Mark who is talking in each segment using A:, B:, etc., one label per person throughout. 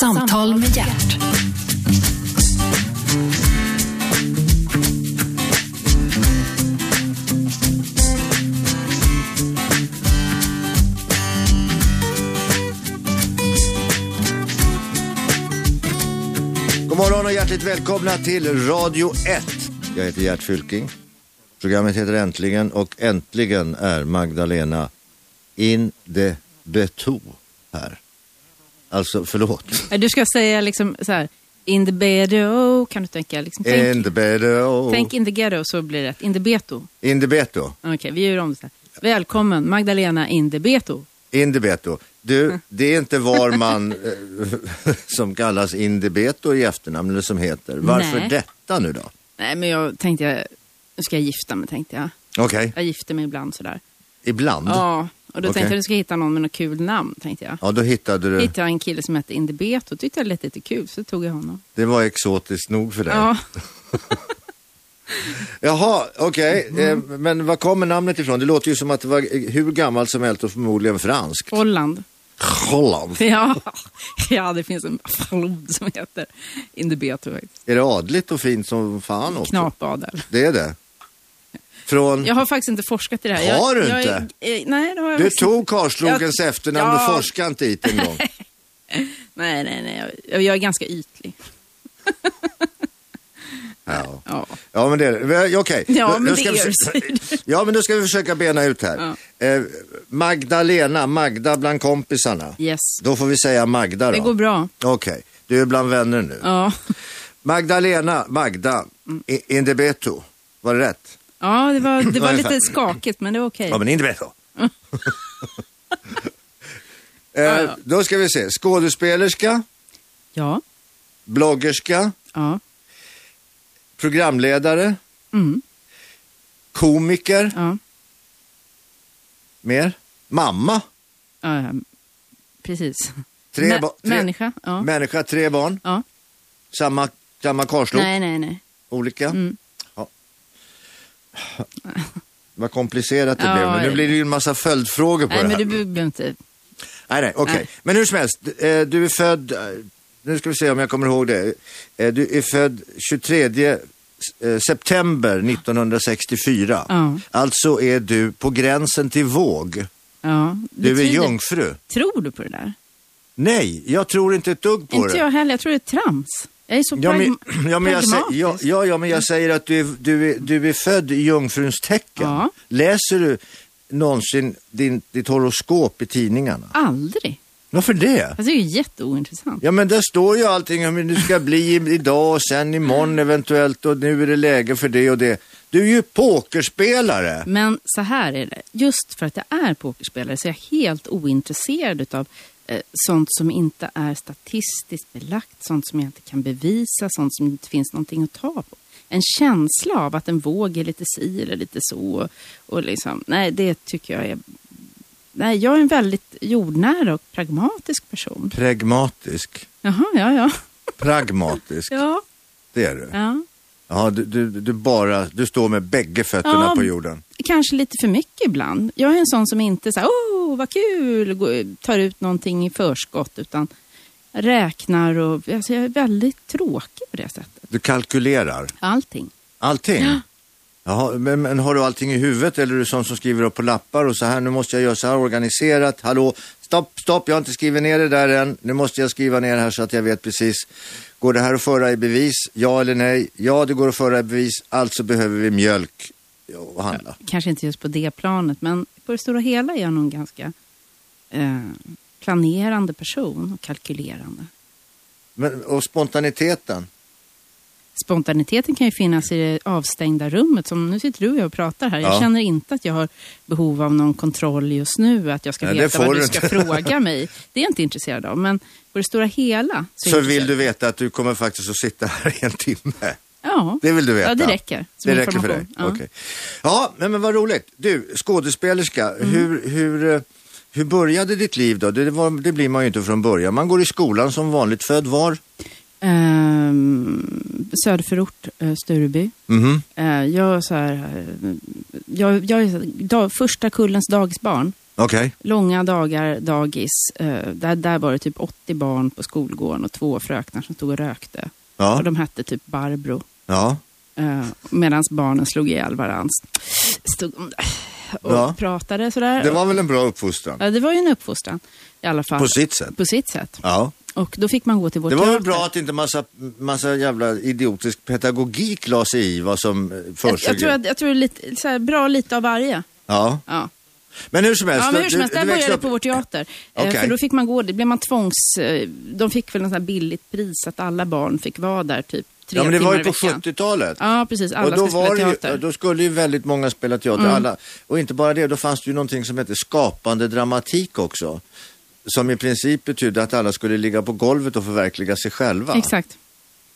A: Samtal med hjärt.
B: God morgon och hjärtligt välkomna till Radio 1. Jag heter Gert Fylking. Programmet heter Äntligen och äntligen är Magdalena in de beto här. Alltså, förlåt.
C: Nej, Eh, Du ska säga liksom så här, in the beto, kan du tänka? Liksom, tänk,
B: In de beto.
C: tänk in the ghetto så blir det rätt. In the beto.
B: In de beto.
C: Okej, vi gör om det. så här. Välkommen Magdalena in the beto.
B: Indibeto.
C: Mm.
B: Du, det är inte var man eh, som kallas Indibeto i efternamn eller som heter. Varför
C: Nej.
B: detta nu då?
C: Nej, men jag tänkte, jag- nu ska jag gifta mig tänkte jag.
B: Okej,
C: Jag gifter mig ibland sådär.
B: ibland. Ja.
C: Ja, och då
B: Mm. Okej.
C: tänkte jag att jag ska hitta någon med något kul namn, tänkte jag.
B: då hittade du.
C: Hittade jag en kille som hette in the beto, tyckte jag lät lite kul, så tog jag honom.
B: Det var exotiskt nog för dig.
C: Ja,
B: Jaha, okej.
C: Mhm.
B: Eh, men var kommer namnet ifrån? Det låter ju som att det var eh, hur gammalt som helst och förmodligen franskt.
C: Holland.
B: Holland.
C: Ja. ja, det finns en flod som heter in the beto faktiskt.
B: Är det adligt och fint som fan också?
C: Knapadel.
B: Det är det. Från...
C: Jag har faktiskt inte forskat i det här. Jag-
B: Har du
C: jag,
B: inte?
C: Jag, eh, nej, det har jag
B: Du
C: faktiskt
B: tog Karlslogens
C: Jag-
B: efternamn
C: Ja.
B: och forskade inte hit en gång.
C: inte. Nej, nej, nej. Jag, jag är ganska ytlig.
B: Ja.
C: Ja.
B: Ja men det är det. Ja, Okej.
C: Ja,
B: Nu-
C: men
B: nu
C: det
B: ska vi
C: är
B: försöka-
C: ju det.
B: Ja, men då ska vi försöka bena ut här. Eh, Magdalena, Magda bland kompisarna.
C: Yes.
B: Då får vi säga Magda då.
C: Det går bra.
B: Okej, du är bland vänner nu.
C: Ja,
B: Magdalena, Magda,
C: Mm.
B: I- Indebeto. Var det rätt?
C: ja det var, det var
B: Ungefär.
C: lite skakigt, men det var okej.
B: Ja, men Indebeto.
C: Ja,
B: eh,
C: ja.
B: då ska vi se. Skådespelerska,
C: Ja,
B: bloggerska,
C: ja.
B: programledare,
C: Mm,
B: komiker.
C: ja.
B: Mer? Mamma.
C: ja, ja. Precis.
B: Tre
C: Mä-
B: ba- tre-
C: Människa. Ja.
B: Människa, tre barn.
C: ja.
B: Samma, samma karslok.
C: Nej, nej, nej.
B: Olika?
C: Mm.
B: Ja. Vad komplicerat det
C: Ja,
B: blev. Men nu
C: det-
B: blir det ju en massa följdfrågor på
C: Nej,
B: det här.
C: men du behöver inte.
B: Nej, nej, okej.
C: Nej.
B: Men hur som helst, eh, du är född, eh, nu ska vi se om jag kommer ihåg det. Eh, Du är född 23 eh, september 1964.
C: Ja.
B: Alltså är du på gränsen till våg.
C: Ja. Det
B: Du är
C: tyder-
B: jungfru.
C: Tror du på det där?
B: Nej, jag tror inte ett dugg på
C: Inte
B: det.
C: jag heller. Jag tror det är trams. Jag är så
B: Ja men,
C: pragma-
B: ja, men jag säger,
C: pragmatisk.
B: ja, ja, ja, men jag säger att du är, du är, du är född i jungfruns tecken.
C: Ja.
B: Läser du någonsin din, ditt horoskop i tidningarna?
C: Aldrig.
B: Varför det?
C: Jag tycker det är jätteointressant.
B: Ja men där står ju allting om hur du ska bli i- idag och sen imorgon
C: Mm.
B: eventuellt och nu är det läge för det och det. Du är ju pokerspelare.
C: Men så här är det. Just för att jag är pokerspelare så är jag helt ointresserad av eh, sånt som inte är statistiskt belagt, sånt som jag inte kan bevisa, sånt som inte finns någonting att ta på. En känsla av att en våg är lite si eller lite så. Och liksom, nej, det tycker jag är... Nej, jag är en väldigt jordnära och pragmatisk person.
B: Pragmatisk.
C: Jaha, ja, ja.
B: Pragmatisk,
C: Ja,
B: det är du.
C: ja.
B: Ja, du, du, du, bara, du står med bägge fötterna
C: Ja.
B: på jorden.
C: kanske lite för mycket ibland. Jag är en sån som inte så här, åh vad kul, gå- tar ut någonting i förskott, utan räknar och alltså, jag är väldigt tråkig på det sättet.
B: Du kalkylerar.
C: Allting.
B: Allting? Jaha, men, men har du allting i huvudet eller är du sån som skriver upp på lappar och så här, nu måste jag göra så här organiserat, hallå, stopp, stopp, jag har inte skrivit ner det där än, nu måste jag skriva ner här så att jag vet precis, går det här att föra i bevis, ja eller nej, ja det går att föra i bevis, alltså behöver vi mjölk och handla.
C: Kanske inte just på det planet, men på det stora hela är jag nog en ganska eh, planerande person och kalkylerande.
B: Men, och spontaniteten,
C: Spontaniteten kan ju finnas i det avstängda rummet. Som nu sitter du och jag och pratar här.
B: Ja.
C: Jag känner inte att jag har behov av någon kontroll just nu. Att jag ska
B: Nej, det
C: veta
B: får
C: vad
B: du
C: du ska
B: inte.
C: fråga mig. Det är jag inte intresserad av. Men på det stora hela. är
B: så
C: jag
B: vill du
C: intresserad.
B: veta att du kommer faktiskt att sitta här i en timme.
C: Ja.
B: Det vill du veta?
C: Ja, det räcker. Som
B: det räcker för dig?
C: information.
B: Ja, ja men, men vad roligt. Du, skådespelerska,
C: Mm.
B: hur, hur, eh, hur började ditt liv då? Det, var, det blir man ju inte från början. Man går i skolan som vanligt, född var?
C: Ja. Ehm, söderförort, eh, Stureby.
B: Mhm.
C: Eh, jag, är så här, eh, jag, jag är så här, dag, första kullens dagisbarn.
B: Okej.
C: Långa dagar, dagis. Eh, där, där var det typ 80 barn på skolgården och två fröknar som stod och rökte.
B: Ja.
C: Och de hette typ Barbro.
B: Ja.
C: Eh, Medan barnen slog ihjäl varandra. Stod de där och
B: Ja.
C: pratade sådär.
B: Det var väl en bra uppfostran?
C: ja, det var ju en uppfostran i alla fall.
B: På sitt sätt.
C: På sitt sätt.
B: Ja.
C: Och då fick man gå till vår
B: Det var väl
C: teater.
B: bra att inte massa, massa jävla idiotisk pedagogik la sig i vad som eh,
C: jag,
B: försiggick.
C: jag tror, att, jag tror lite, så här, bra lite av varje.
B: Ja.
C: Ja.
B: Men hur som helst.
C: Ja, men hur som helst, där
B: växte
C: började det
B: upp-
C: på vår teater. Eh,
B: Okej.
C: För då fick man gå, det blev man tvångs... eh, De fick väl en sån här billigt pris att alla barn fick vara där typ tre
B: Ja, men det
C: timmar
B: var
C: i
B: ju på
C: veckan.
B: 70-talet.
C: Ja, precis. Alla
B: och då,
C: skulle
B: var
C: spela
B: det ju,
C: teater. Mm.
B: ja, då skulle ju väldigt många spela teater. Alla, och inte bara det, då fanns det ju någonting som hette skapande dramatik också. Som i princip betydde att alla skulle ligga på golvet och förverkliga sig själva.
C: Exakt.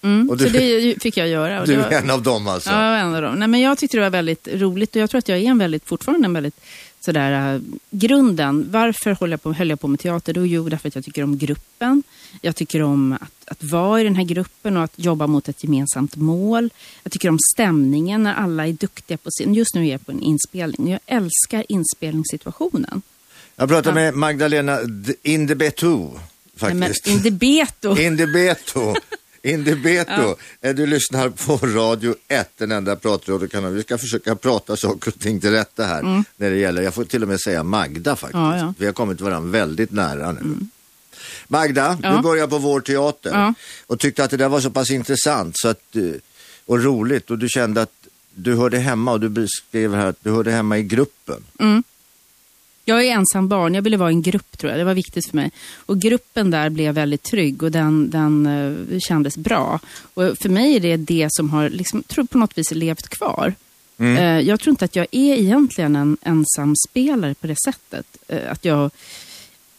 C: Mm.
B: Och du-
C: Så det ju- fick jag göra. Och
B: Du
C: det var...
B: är en av dem alltså.
C: Ja, jag var en av dem. Nej, men jag tyckte det var väldigt roligt och jag tror att jag är en väldigt, fortfarande en väldigt sådär, eh, grunden. Varför höll jag, på, höll jag på med teater då? Jo, därför att jag tycker om gruppen. Jag tycker om att, att vara i den här gruppen och att jobba mot ett gemensamt mål. Jag tycker om stämningen när alla är duktiga på sin... Just nu är jag på en inspelning. Jag älskar inspelningssituationen.
B: Jag pratade med Magdalena D- Indebetu
C: Nej, men
B: faktiskt.
C: Indebeto.
B: Indebeto. Indebeto. Eh, Du lyssnar på Radio 1, den enda pratradiokanalen. Vi ska försöka prata saker och ting till rätta här. När det gäller, jag får till och med säga Magda faktiskt.
C: Mm. Ja, ja.
B: Vi har kommit varandra väldigt nära nu. Magda, du
C: Ja.
B: började på vår teater
C: Ja.
B: och tyckte att det där var så pass intressant så att, eh, och roligt och du kände att du hörde hemma och du skrev här att du hörde hemma i gruppen.
C: Jag är ensam barn, jag ville vara i en grupp tror jag. Det var viktigt för mig. Och gruppen där blev jag väldigt trygg och den, den eh, kändes bra. Och för mig är det det som har, liksom, tror på något vis levt kvar. Eh, jag tror inte att jag är egentligen en ensam spelare på det sättet. Eh, att jag...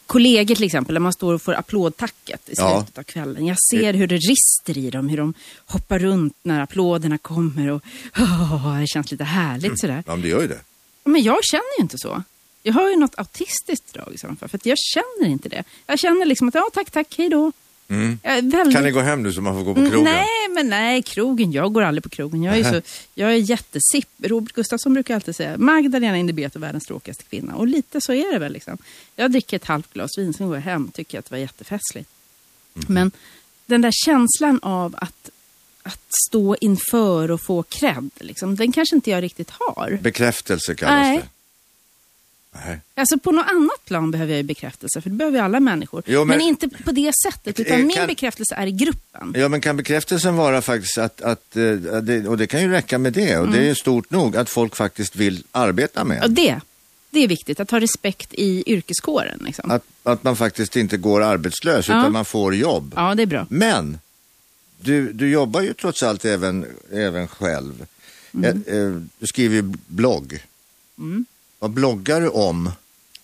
C: Kollegor till exempel, när man står och får applådtacket i slutet
B: Ja.
C: av kvällen. Jag ser hur det rister i dem, hur de hoppar runt när applåderna kommer och "Åh, det känns lite härligt sådär.
B: Ja, men det gör ju det.
C: Men jag känner ju inte så. Jag har ju något autistiskt drag i så fall, för att jag känner inte det. Jag känner liksom att, ja tack, tack, hej då. Jag är väldigt...
B: Mm. Kan ni gå hem nu så man får gå på krogen?
C: Mm. Nej, men nej, krogen. Jag går aldrig på krogen. Jag är, ju så, jag är jättesipp. Robert Gustafsson brukar alltid säga, Magdalena Indebet är världens tråkigaste kvinna. Och lite så är det väl. liksom. Jag dricker ett halvt glas vin, sen går jag hem tycker att det var jättefestligt.
B: Mhm.
C: Men den där känslan av att, att stå inför och få cred, liksom, den kanske inte jag riktigt har.
B: Bekräftelse kallas
C: Nej.
B: det. Nej.
C: Alltså på något annat plan behöver jag ju bekräftelse, för det behöver ju alla människor.
B: Jo, men-
C: men... inte på det sättet, utan
B: Eh,
C: min
B: kan-
C: bekräftelse är i gruppen.
B: Ja, men kan bekräftelsen vara faktiskt att, att eh, det, och det kan ju räcka med det, och det är
C: Mm.
B: ju stort nog att folk faktiskt vill arbeta med.
C: Och det, det är viktigt, att ha respekt i yrkeskåren. Liksom.
B: Att, att man faktiskt inte går arbetslös,
C: Ja.
B: utan man får jobb.
C: Ja, det är bra.
B: Men, du, du jobbar ju trots allt även, även själv. Eh, eh, du skriver ju blogg.
C: Mm.
B: Vad bloggar du om?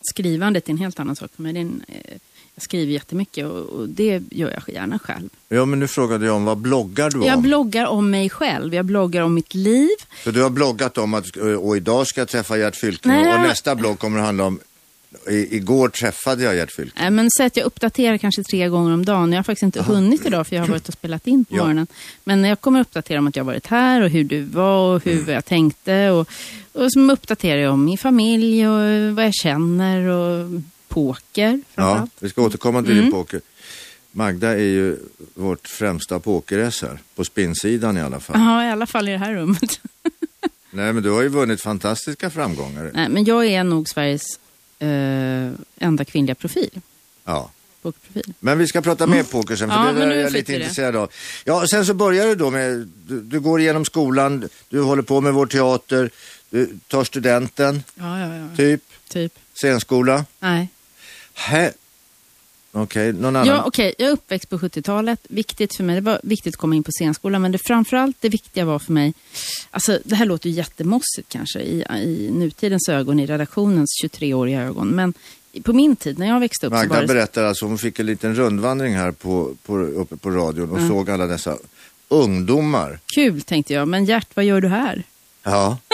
C: Skrivandet är en helt annan sak för mig. Det är en, eh, jag skriver jättemycket och, och det gör jag gärna själv.
B: Ja, men nu frågade jag om vad bloggar du
C: Jag
B: om?
C: bloggar om mig själv, jag bloggar om mitt liv.
B: Så du har bloggat om att eh, och idag ska jag träffa Gert Fylking
C: Nej,
B: och
C: jag-
B: nästa blogg kommer att handla om i, igår träffade jag Gert Fylking.
C: Nej, Eh, men säg att jag uppdaterar kanske tre gånger om dagen. Jag har faktiskt inte hunnit idag för jag har varit och spelat in på
B: Ja.
C: morgonen. Men jag kommer uppdatera om att jag har varit här och hur du var och
B: Mm.
C: hur jag tänkte. Och, och som uppdaterar jag om min familj och eh, vad jag känner och poker
B: Ja,
C: framförallt.
B: vi ska återkomma till
C: Mm.
B: din poker. Magda är ju vårt främsta pokeress här, på spinnsidan i alla fall.
C: Ja. i alla fall i det här rummet.
B: Nej, men du har ju vunnit fantastiska framgångar.
C: Nej, men jag är nog Sveriges eh, enda kvinnliga profil.
B: Ja.
C: Pokerprofil.
B: Men vi ska prata mer poker sen, för
C: Ja,
B: det där
C: men
B: är
C: nu
B: jag
C: skiter
B: lite
C: i det.
B: intresserad av. Ja, sen så börjar du då med, du, du går igenom skolan, du håller på med vår teater, du tar studenten,
C: Ja, ja, ja.
B: typ,
C: Typ.
B: scenskola.
C: Nej.
B: Hä? Okej, någon annan?
C: Ja, okej. Jag är uppväxt på 70-talet. Viktigt för mig, det var viktigt att komma in på scenskolan, men det framförallt det viktiga var för mig, alltså det här låter ju jättemossigt kanske i, i nutidens ögon, i redaktionens 23-åriga ögon, men på min tid när jag växte upp så var
B: Magda
C: det...
B: berättar alltså, hon fick en liten rundvandring här på, på, uppe på radion
C: Mm.
B: och såg alla dessa ungdomar.
C: Kul tänkte jag, men Gert, vad gör du här?
B: Ja.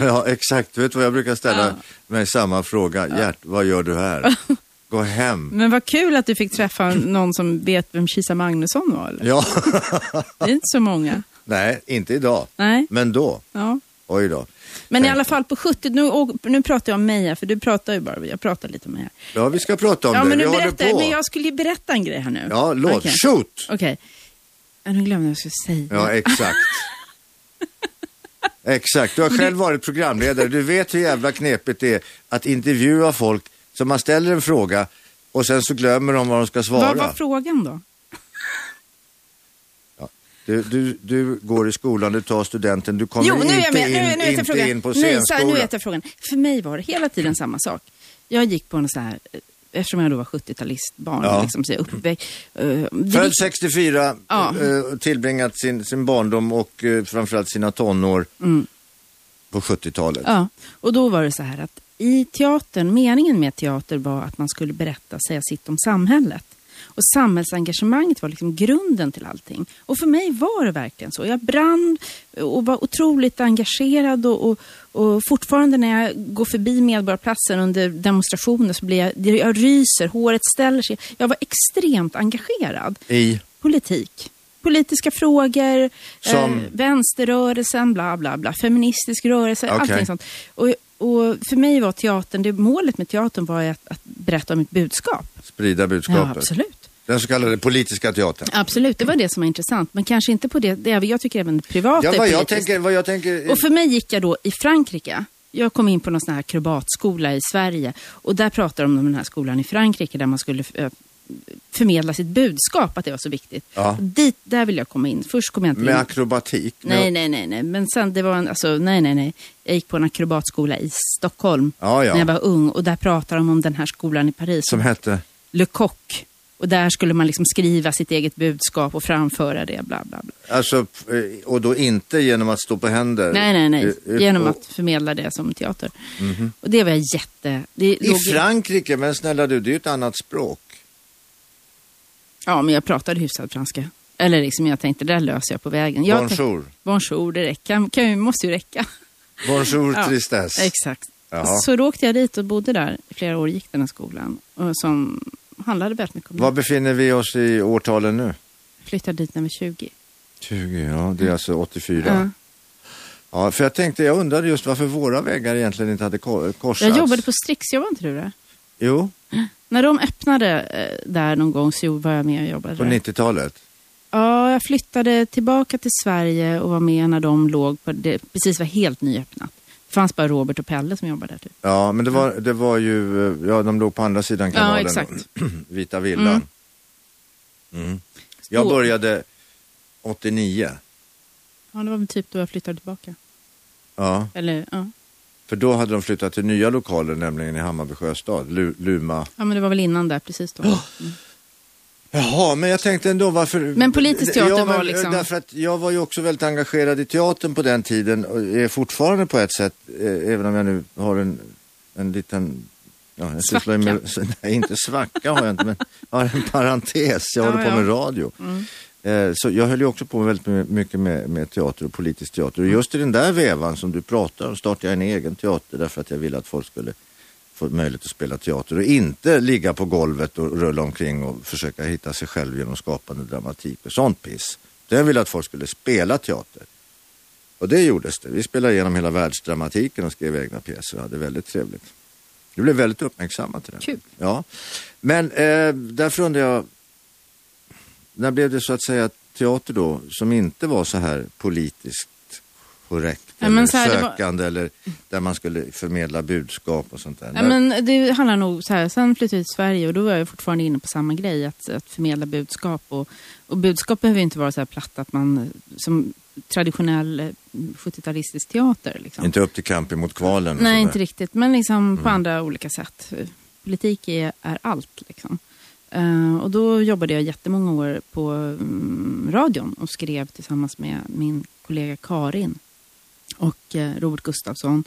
B: ja, exakt. Du vet vad jag brukar ställa mig samma fråga. Gert, vad gör du här? Gå hem.
C: Men vad kul att du fick träffa någon som vet vem Kisa Magnusson var, eller?
B: Ja,
C: Det är inte så många.
B: nej, inte idag.
C: Nej,
B: Men då.
C: ja.
B: Oj då.
C: Men i alla fall på 70, nu, och, nu pratar jag om mig här, för du pratar ju bara, jag pratar lite om mig här.
B: Ja, vi ska prata om
C: Ja,
B: det.
C: men,
B: vi
C: nu
B: håller
C: berättar,
B: på.
C: men jag skulle ju berätta en grej här nu.
B: Ja, låt.
C: Okej.
B: Shoot!
C: Okej. Ja, nu glömde jag vad jag skulle säga.
B: Ja, exakt. exakt. Du har själv varit programledare. Du vet hur jävla knepigt det är att intervjua folk som man ställer en fråga och sen så glömmer de vad de ska svara.
C: vad var frågan då?
B: Du, du, du går i skolan, du tar studenten, du kommer
C: jo, nu är jag
B: inte,
C: med. Nu, nu
B: in,
C: vet jag
B: inte
C: frågan.
B: in på
C: nu, så här, nu
B: scenskolan.
C: vet jag frågan. För mig var det hela tiden samma sak. Jag gick på en så här, eh, eftersom jag då var 70-talistbarn,
B: Ja.
C: liksom, så jag uppväxt. Uh,
B: Född 64,
C: Ja.
B: eh, tillbringat sin, sin barndom och eh, framförallt sina tonår på 70-talet.
C: Mm. Ja, och då var det så här att i teatern, meningen med teater var att man skulle berätta, säga sitt om samhället. Och samhällsengagemanget var liksom grunden till allting. Och för mig var det verkligen så. Jag brann och var otroligt engagerad och, och, och fortfarande när jag går förbi Medborgarplatsen under demonstrationer så blir jag, jag ryser, håret ställer sig. Jag var extremt engagerad
B: I,
C: politik. Politiska frågor,
B: Som?
C: eh, vänsterrörelsen, bla bla bla, feministisk rörelse,
B: Okej.
C: allting sånt. Och, och för mig var teatern, det målet med teatern var ju att, att berätta om mitt budskap.
B: sprida
C: Ja,
B: budskapet.
C: absolut.
B: Den så kallade politiska teatern.
C: Absolut, det var det som var intressant. Men kanske inte på det, det är- jag tycker även privat
B: Ja,
C: är
B: vad jag
C: politiskt.
B: tänker, vad jag tänker
C: Och för mig gick jag då i Frankrike. Jag kom in på någon sån här akrobatskola i Sverige och där pratade de om den här skolan i Frankrike där man skulle eh, förmedla sitt budskap att det var så viktigt.
B: Ja.
C: Dit, där vill jag komma in. Först kom jag inte in.
B: med akrobatik.
C: Nej,
B: Med-
C: nej, nej, nej. Men sen, det var en, alltså, nej, nej, nej. Jag gick på en akrobatskola i Stockholm
B: Ja, ja.
C: när jag var ung och där pratade de om den här skolan i Paris,
B: Som hette?
C: Le Coq. Och där skulle man liksom skriva sitt eget budskap och framföra det, bla, bla, bla.
B: Alltså, eh, och då inte genom att stå på händer?
C: Nej, nej, nej.
B: Eh, eh,
C: Genom
B: och- Mhm.
C: att förmedla det som teater. Och det var jag jätte... Det
B: I
C: låg-
B: Frankrike, men snälla du, det är ju ett annat språk.
C: Ja, men jag pratade hyfsad franska. Eller liksom jag tänkte, det där löser jag på vägen. Jag tänkte-
B: Bonjour.
C: Bonjour, det räcker. Kan, kan, ju- måste ju räcka.
B: Bonjour
C: Ja,
B: tristesse.
C: Exakt.
B: Jaha.
C: Så då åkte jag dit och bodde där i flera år, gick den här skolan. Och som handlade väldigt mycket om
B: Var befinner vi oss i årtalen nu?
C: Flyttade dit när jag var 20.
B: 20, ja.
C: Mm.
B: Det är alltså 84.
C: Ja.
B: Ja, för jag tänkte, jag undrade just varför våra vägar egentligen inte hade ko- korsats.
C: Jag jobbade på Strix, jobbade inte du där?
B: Jo,
C: När de öppnade eh, där någon gång så var jag med och jobbade
B: på
C: där.
B: 90-talet.
C: Ja, jag flyttade tillbaka till Sverige och var med när de låg på, det precis var helt nyöppnat. Det fanns bara Robert och Pelle som jobbade där typ.
B: Ja, men det var, det var ju, eh, ja de låg på andra sidan
C: Ja,
B: kanalen.
C: exakt. Mm.
B: Vita villan. Mm. Jag
C: Stor-
B: började 89.
C: Ja, det var väl typ då jag flyttade tillbaka.
B: Ja,
C: Eller, ja.
B: för då hade de flyttat till nya lokaler, nämligen i Hammarby sjöstad, Lu- Luma.
C: ja, men det var väl innan där precis då. Mm.
B: Jaha, men jag tänkte ändå varför...
C: Men politisk teater var liksom-
B: Därför att jag var ju också väldigt engagerad i teatern på den tiden och är fortfarande på ett sätt, eh, även om jag nu har en, en liten... Ja, jag sysslar ju Med, nej, inte svacka har jag inte, men jag har en parentes. Jag
C: Ja,
B: håller på
C: ja.
B: med radio. Eh, Så jag höll ju också på väldigt my- mycket med, med teater och politisk teater. Och just i den där vevan som du pratar om startade jag en egen teater därför att jag ville att folk skulle få möjlighet att spela teater och inte ligga på golvet och rulla omkring och försöka hitta sig själv genom skapande dramatik och sånt piss. Den ville att folk skulle spela teater. Och det gjordes det. Vi spelade igenom hela världsdramatiken och skrev egna pjäser och hade väldigt trevligt. Vi blev väldigt uppmärksamma till det.
C: Kul.
B: Ja. Men eh, därför undrar jag, när blev det så att säga teater då som inte var så här politiskt korrekt
C: Ja,
B: eller
C: men så här, det var-
B: sökande eller där man skulle förmedla budskap och sånt där?
C: Ja,
B: När-
C: men det handlar nog så här, sen flyttade jag till Sverige och då var jag fortfarande inne på samma grej, att, att förmedla budskap. Och, och budskap behöver ju inte vara så här platt att man, som traditionell eh, 70-talistisk teater. Liksom.
B: Inte upp till kamp mot kvalen? och
C: Nej,
B: sådär.
C: inte riktigt. Men liksom
B: Mm.
C: på andra olika sätt. Politik är, är allt. Liksom. Eh, och då jobbade jag jättemånga år på mm, radion och skrev tillsammans med min kollega Karin och eh, Robert Gustafsson,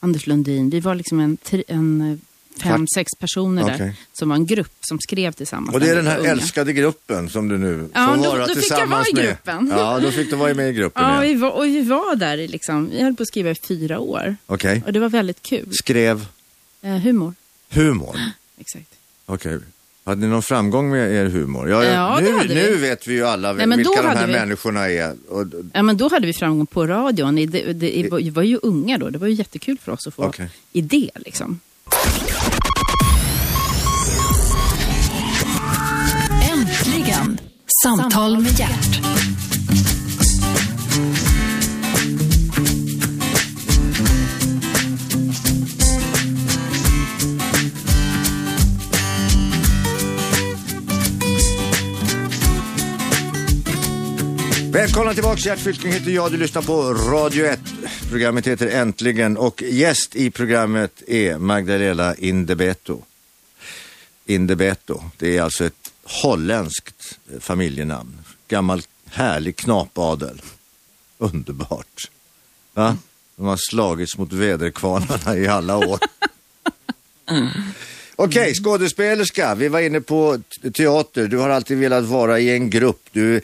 C: Anders Lundin. Vi var liksom en, tri- en eh, fem, sex personer där
B: Okej.
C: som var en grupp som skrev tillsammans.
B: Och det är den här
C: Unga.
B: älskade gruppen som du nu
C: Ja,
B: får
C: då-
B: vara
C: då fick jag
B: tillsammans
C: vara i
B: med.
C: gruppen.
B: Ja, då fick du vara med i gruppen
C: Ja,
B: igen.
C: vi var, och vi var där i liksom, vi höll på att skriva i fyra år.
B: Okej.
C: Och det var väldigt kul.
B: Skrev
C: Eh, humor,
B: humor.
C: exakt.
B: Okej. Hade ni någon framgång med er humor? Ja,
C: Ja, det
B: nu,
C: hade vi.
B: nu vet vi ju alla
C: Nej, men
B: vilka
C: då
B: de här
C: hade vi-
B: människorna är. Och,
C: Ja, men då hade vi framgång på radion. I- Det, det, det var- vi var ju unga då. Det var ju jättekul för oss att få
B: Okej.
C: idé. Liksom.
A: Äntligen! Samtal med hjärt.
B: Välkomna tillbaka, Gert Fylking heter jag. Du lyssnar på Radio 1. Programmet heter Äntligen och gäst i programmet är Magdalena Indebeto. Indebeto, det är alltså ett holländskt eh, familjenamn. Gammal härlig knapadel. Underbart. Va? De har slagits mot väderkvarnarna i alla år. Okej, skådespelerska. Vi var inne på t- teater. Du har alltid velat vara i en grupp. Du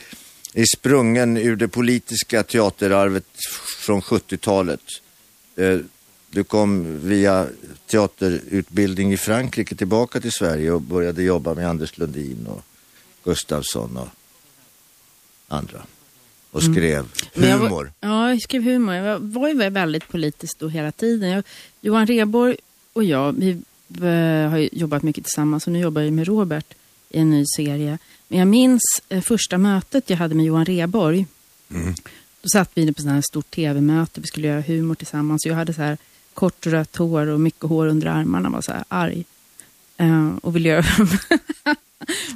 B: är sprungen ur det politiska teaterarvet från 70-talet. Eh, Du kom via teaterutbildning i Frankrike tillbaka till Sverige och började jobba med Anders Lundin och Gustafsson och andra. Och skrev
C: Mm. Men jag var-
B: humor.
C: Ja, jag skrev humor. Jag var, var ju väldigt politisk då hela tiden. Jag, Johan Rheborg och jag, vi eh, har ju jobbat mycket tillsammans och nu jobbar jag med Robert i en ny serie. Men jag minns eh, första mötet jag hade med Johan Rheborg. Då satt vi inne på sån här stort tv-möte, vi skulle göra humor tillsammans. Jag hade så här kort rött hår och mycket hår under armarna, var så här arg. Eh, och ville göra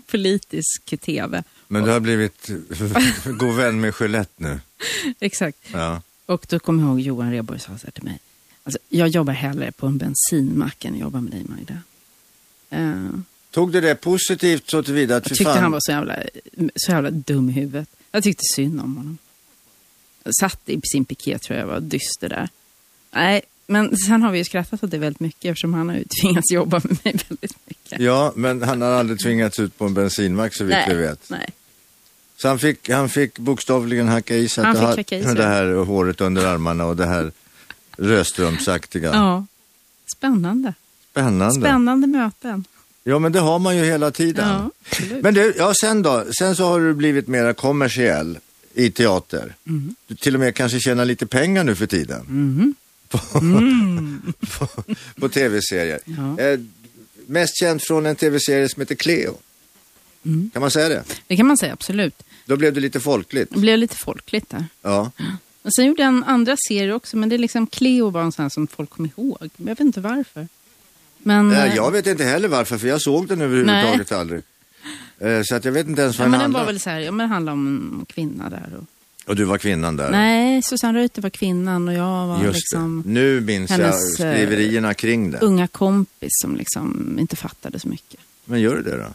C: politisk tv.
B: Men du har blivit god vän med Gillette nu.
C: Exakt.
B: Ja.
C: Och då kommer jag ihåg Johan Rheborg sa så här till mig. Alltså, jag jobbar hellre på en bensinmack än att jobba med dig Magda. Eh,
B: Tog du det positivt så tillvida att
C: jag
B: fy
C: tyckte
B: fan,
C: han var så jävla, så jävla dum i huvudet. Jag tyckte synd om honom. Jag satt i sin piké tror jag var dyster där. Nej, men sen har vi ju skrattat åt det väldigt mycket eftersom han har ju tvingats jobba med mig väldigt mycket.
B: Ja, men han har aldrig tvingats ut på en bensinmack så vitt vi vet.
C: nej.
B: Så han fick, han fick bokstavligen hacka i sig
C: Han
B: att
C: fick
B: ha-
C: hacka i sig.
B: det här håret under armarna och det här rödstrumpsaktiga.
C: Ja. Spännande.
B: Spännande.
C: Spännande möten.
B: Ja, men det har man ju hela tiden.
C: Ja, absolut.
B: Men du, ja, sen då? Sen så har du blivit mer kommersiell i teater.
C: Mm.
B: Du till och med kanske tjänar lite pengar nu för tiden. På, på, på tv-serier.
C: Mm. Ja.
B: Eh, mest känd från en tv-serie som heter Cleo.
C: Mm.
B: Kan man säga det?
C: Det kan man säga, absolut.
B: Då blev det lite folkligt.
C: Det blev lite folkligt där.
B: Ja.
C: Och sen gjorde jag en andra serie också, men det är liksom Cleo var en sån här som folk kom ihåg. Men jag vet inte varför. Men,
B: Eh,
C: eh,
B: Jag vet inte heller varför, för jag såg den överhuvudtaget aldrig. Eh, Så att jag vet inte ens vad
C: ja, men
B: den
C: den var
B: handlade
C: väl så här, ja, men det handlade om en kvinna där. Och...
B: Och du var kvinnan där.
C: Nej, Susanne Reuter var kvinnan och jag var
B: Just det.
C: liksom
B: Nu minns jag
C: hennes, eh,
B: skriverierna kring det.
C: unga kompis som liksom inte fattade så mycket.
B: Men gör du det då?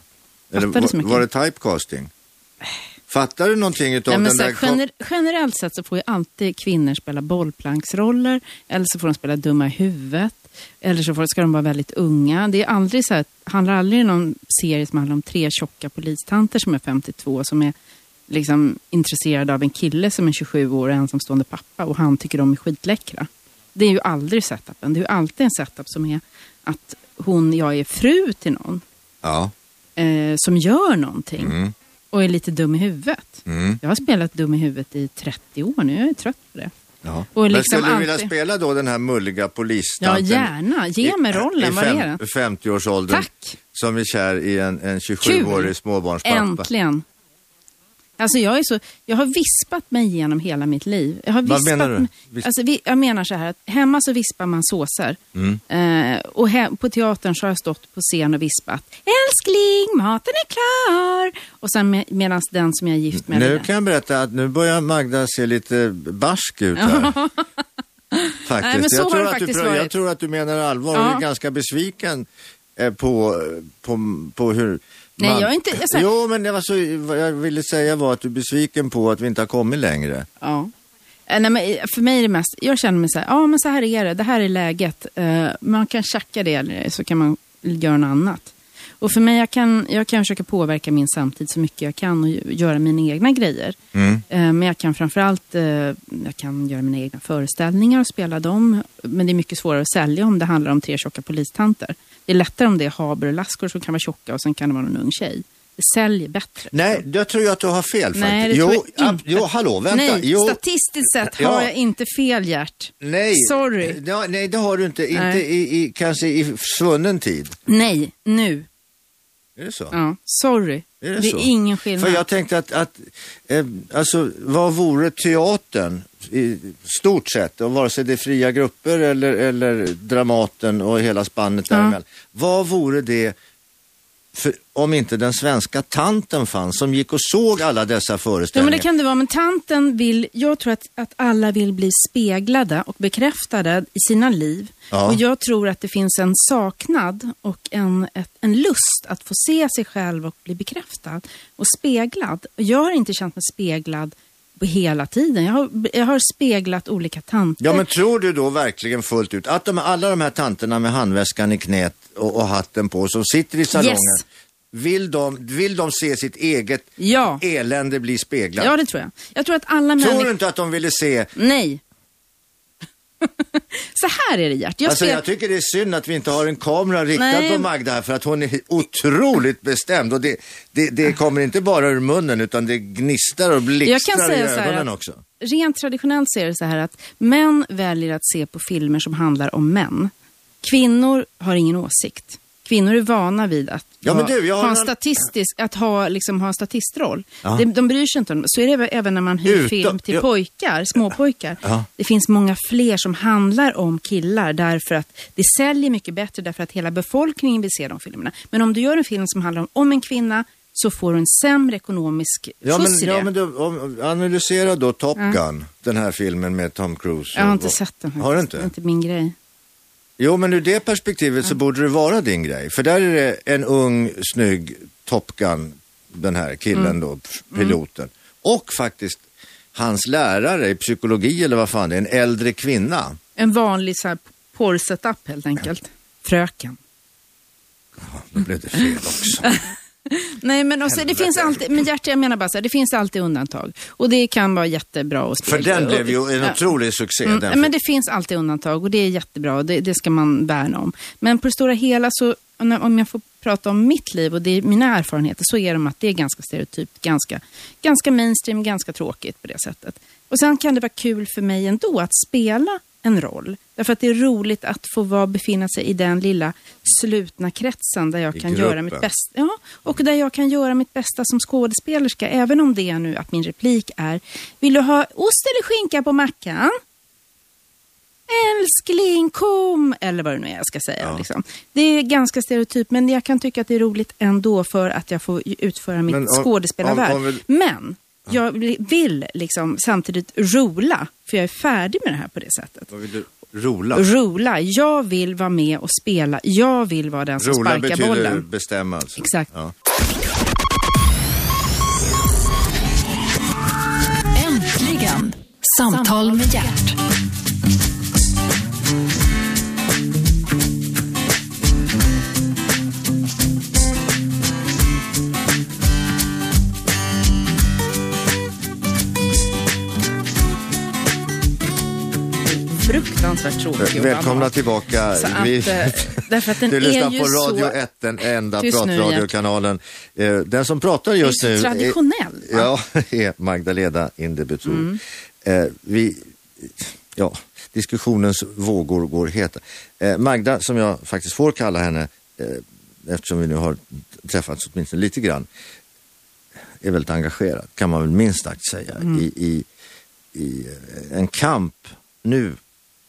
C: Fattade så
B: var,
C: mycket.
B: var det typecasting? Fattar du någonting utav
C: Nej, men
B: den
C: så
B: där...
C: här, gener generellt sett så får ju alltid kvinnor spela bollplanksroller, eller så får de spela dumma i huvudet, eller så får, ska de vara väldigt unga. Det är aldrig så här, handlar aldrig om någon serie som handlar om tre tjocka polistanter som är 52, som är liksom intresserade av en kille som är 27 år och ensamstående pappa och han tycker de är skitläckra. Det är ju aldrig setupen. Det är ju alltid en setup som är att hon, jag är fru till någon
B: Ja.
C: eh, som gör någonting
B: Mm.
C: och är lite dum i huvudet.
B: Mm.
C: Jag har spelat dum i huvudet i 30 år nu. Jag är trött på det.
B: ja.
C: Och
B: men
C: liksom
B: skulle du vilja
C: alltid-
B: spela då den här mulliga
C: Ja,
B: polistanten?
C: gärna. Ge mig rollen. Vad är det?
B: I fem, 50-årsåldern.
C: Tack.
B: Som är kär i en, en
C: Kul.
B: 27-årig småbarnspappa.
C: Äntligen. Alltså jag, är så, jag har vispat mig igenom hela mitt liv. Jag har
B: Vad
C: vispat
B: menar du?
C: mig-
B: Vis-
C: Alltså vi, jag menar så här att hemma så vispar man såser.
B: Mm.
C: Eh, och he- på teatern så har jag stått på scen och vispat. Älskling, maten är klar. Och sen med, medan den som jag är gift med...
B: Nu kan jag berätta att nu börjar Magda se lite barsk ut här. faktiskt.
C: Nej, men så
B: jag,
C: har
B: tror
C: det
B: att
C: faktiskt
B: du, prö- jag
C: varit.
B: tror att du menar allvar
C: Ja.
B: och är ganska besviken eh, på, på, på hur
C: Nej,
B: man...
C: jag är inte- jag säger-
B: Jo, men det var så, vad jag ville säga var att du är besviken på att vi inte har kommit längre.
C: Ja. Eh, Nej, men eh, för mig är det mest, jag känner mig så här, ja men så här är det, det här är läget. Eh, man kan tjacka det eller så kan man göra något annat. Och för mig, jag kan, jag kan försöka påverka min samtid så mycket jag kan och ju- göra mina egna grejer.
B: Mm.
C: Eh, Men jag kan framförallt eh, jag kan göra mina egna föreställningar och spela dem. Men det är mycket svårare att sälja om det handlar om tre tjocka polistanter. Det är lättare om det är haber och laskor som kan vara tjocka och sen kan det vara någon ung tjej. Det säljer bättre.
B: Nej, jag tror jag att du har fel faktiskt.
C: Nej, det
B: jo,
C: tror jag
B: ab-
C: inte.
B: jo, hallå, vänta.
C: Nej,
B: jo,
C: statistiskt sett har
B: Ja.
C: jag inte fel, Gert.
B: nej.
C: Sorry.
B: Ja, nej, det har du inte. Inte
C: Nej.
B: i, i, kanske i svunnen tid.
C: Nej, nu.
B: Är det så?
C: Ja, sorry.
B: Är det
C: det
B: så?
C: är ingen skillnad.
B: För jag tänkte att, att eh, alltså, vad vore teatern i stort sett, och vare sig det är fria grupper eller, eller Dramaten och hela spannet
C: Ja.
B: däremellan. Vad vore det för, om inte den svenska tanten fanns som gick och såg alla dessa
C: Ja, men
B: föreställningar?
C: det kan det vara, men tanten vill, jag tror att, att alla vill bli speglade och bekräftade i sina liv.
B: Ja.
C: Och jag tror att det finns en saknad och en, ett, en lust att få se sig själv och bli bekräftad och speglad. Och jag har inte känt mig speglad på hela tiden. Jag har, jag har speglat olika tanter.
B: Ja, men tror du då verkligen fullt ut att de, alla de här tanterna med handväskan i knät och, och hatten på som sitter i salongen,
C: Yes.
B: vill, de, vill de se sitt eget
C: ja.
B: elände bli speglat?
C: ja, det tror jag. Jag tror att alla
B: Tror
C: människor...
B: du inte att de ville se
C: Nej. Så här är det, Gert. Jag
B: alltså,
C: spel-
B: jag tycker det är synd att vi inte har en kamera riktad
C: Nej.
B: på Magda här för att hon är otroligt bestämd och det, det, det kommer inte bara ur munnen utan det gnistrar och
C: Jag kan
B: blixtrar i
C: säga så
B: ögonen
C: här att
B: också.
C: rent traditionellt så är det så här att män väljer att se på filmer som handlar om män. Kvinnor har ingen åsikt. Kvinnor är vana vid att
B: Ja, men du, jag har
C: ha, en
B: en-
C: statistisk, att ha, liksom, ha en statistroll.
B: Ja.
C: De, de bryr sig inte om Så är det även- även när man hyr
B: Utom-
C: film till
B: ja.
C: pojkar, småpojkar.
B: Ja.
C: Det finns många fler som handlar om killar därför att det säljer mycket bättre därför att hela befolkningen vill se de filmerna. Men om du gör en film som handlar om, om en kvinna så får du en sämre ekonomisk
B: Ja men,
C: skjuts i det.
B: ja, men du, om, analysera då Top Gun, den här filmen med Tom Cruise.
C: Jag har
B: och-
C: inte
B: och-
C: sett den.
B: Har du
C: faktiskt.
B: inte?
C: Det är inte min grej.
B: Jo, men ur det perspektivet så borde det vara din grej. För där är det en ung, snygg Top Gun, den här killen
C: Mm.
B: då, p- piloten. Och faktiskt hans lärare i psykologi eller vad fan det är, en äldre kvinna.
C: En vanlig så här porrsetup helt enkelt. Fröken.
B: Då blev det fel också.
C: Nej, men också, det finns alltid, men hjärta, jag menar bara så här, det finns alltid undantag. Och det kan vara jättebra att
B: För
C: spela.
B: den blev ju en
C: Ja.
B: otrolig succé.
C: Mm,
B: den
C: men det finns alltid undantag och det är jättebra och det, det ska man värna om. Men på det stora hela, så, om jag får prata om mitt liv och det är mina erfarenheter, så är de att det är ganska stereotypt, ganska, ganska mainstream, ganska tråkigt på det sättet. Och sen kan det vara kul för mig ändå att spela en roll. Därför att det är roligt att få vara, befinna sig i den lilla slutna kretsen där jag
B: I
C: kan göra mitt
B: gruppen.
C: bästa bäst- ja, och där jag kan göra mitt bästa som skådespelerska, även om det är nu att min replik är Vill du ha ost eller skinka på mackan? Älskling, kom! Eller vad det nu är jag ska säga.
B: Ja.
C: Liksom. Det är ganska stereotypt, men jag kan tycka att det är roligt ändå för att jag får ju utföra mitt
B: Men om-
C: skådespelarvärv.
B: om- om vi-
C: Men jag vill- vill liksom samtidigt rola, för jag är färdig med det här på det sättet.
B: Vad vill du? Rola.
C: Rola, jag vill vara med och spela. Jag vill vara den som
B: Rola
C: sparkar
B: betyder
C: bollen.
B: bestämma alltså.
C: Exakt.
B: Ja.
A: Äntligen! Samtal med hjärt.
C: fruktansvärt tråkig. och
B: Välkomna
C: banal.
B: tillbaka.
C: Så att,
B: Vi-
C: eh, därför att den
B: du
C: är
B: lyssnar
C: ju
B: på Radio
C: så...
B: 1, den enda
C: Tyst nu,
B: pratradiokanalen. Eh, Den som pratar just
C: Det är
B: nu
C: så traditionell,
B: Är, ja, är Magdalena Indebutur.
C: Mm.
B: Eh, vi, ja, diskussionens vågor går heta. Eh, Magda, som jag faktiskt får kalla henne, eh, eftersom vi nu har träffats åtminstone lite grann, är väldigt engagerad, kan man väl minst sagt säga,
C: Mm.
B: i, i, i eh, en kamp nu,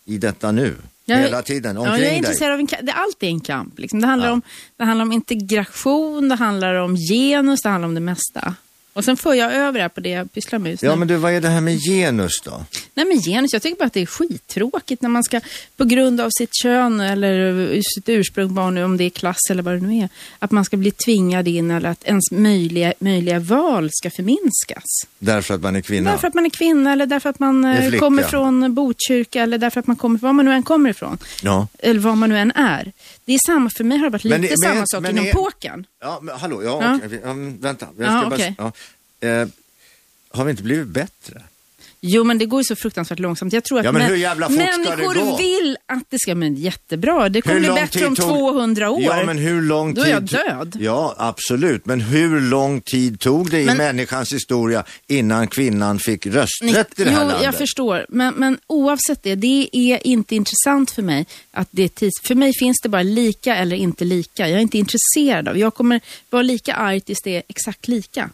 B: i detta nu,
C: Jag är-
B: hela tiden
C: Ja,
B: omkring
C: jag är
B: dig.
C: intresserad av en ka- det, allt är en kamp. Liksom. Det, handlar om, det handlar om integration, det handlar om genus, det handlar om det mesta. Och sen för jag över det här på det jag pysslar med just
B: Ja
C: nu.
B: men du, vad är det här med genus då?
C: Nej men genus, jag tycker bara att det är skittråkigt när man ska på grund av sitt kön eller eh, sitt ursprung, vad nu, om det är klass eller vad det nu är, att man ska bli tvingad in eller att ens möjliga, möjliga val ska förminskas.
B: Därför att man är kvinna?
C: Därför att man är kvinna eller därför att man
B: Är
C: eh,
B: flicka.
C: kommer från Botkyrka eller därför att man kommer, var man nu än kommer ifrån.
B: Ja.
C: Eller var man nu än är. Det är samma, för mig har det varit lite
B: Men det- men-
C: samma sak
B: men
C: inom
B: är-
C: pokern.
B: Ja, men hallå, ja,
C: Ja.
B: okej, vi- ja, men vänta. Jag
C: Ja,
B: ska bara,
C: okej.
B: ja. Eh, har vi inte blivit bättre?
C: Jo, men det går ju så fruktansvärt långsamt. Jag tror att
B: Ja, men
C: mä-
B: hur jävla fort ska det
C: människor
B: gå?
C: vill att det ska, men jättebra, det kommer bli bättre om 200 år.
B: Ja, men hur lång
C: Då
B: tid...
C: är jag död.
B: Ja, absolut. Men hur lång tid tog det i
C: Men-
B: människans historia innan kvinnan fick
C: Ni-
B: rösträtt i det här
C: jo,
B: landet?
C: jag förstår. Men, men oavsett det, det är inte intressant för mig att det är tids... För mig finns det bara lika eller inte lika. Jag är inte intresserad av. Jag kommer vara lika arg tills det är exakt lika.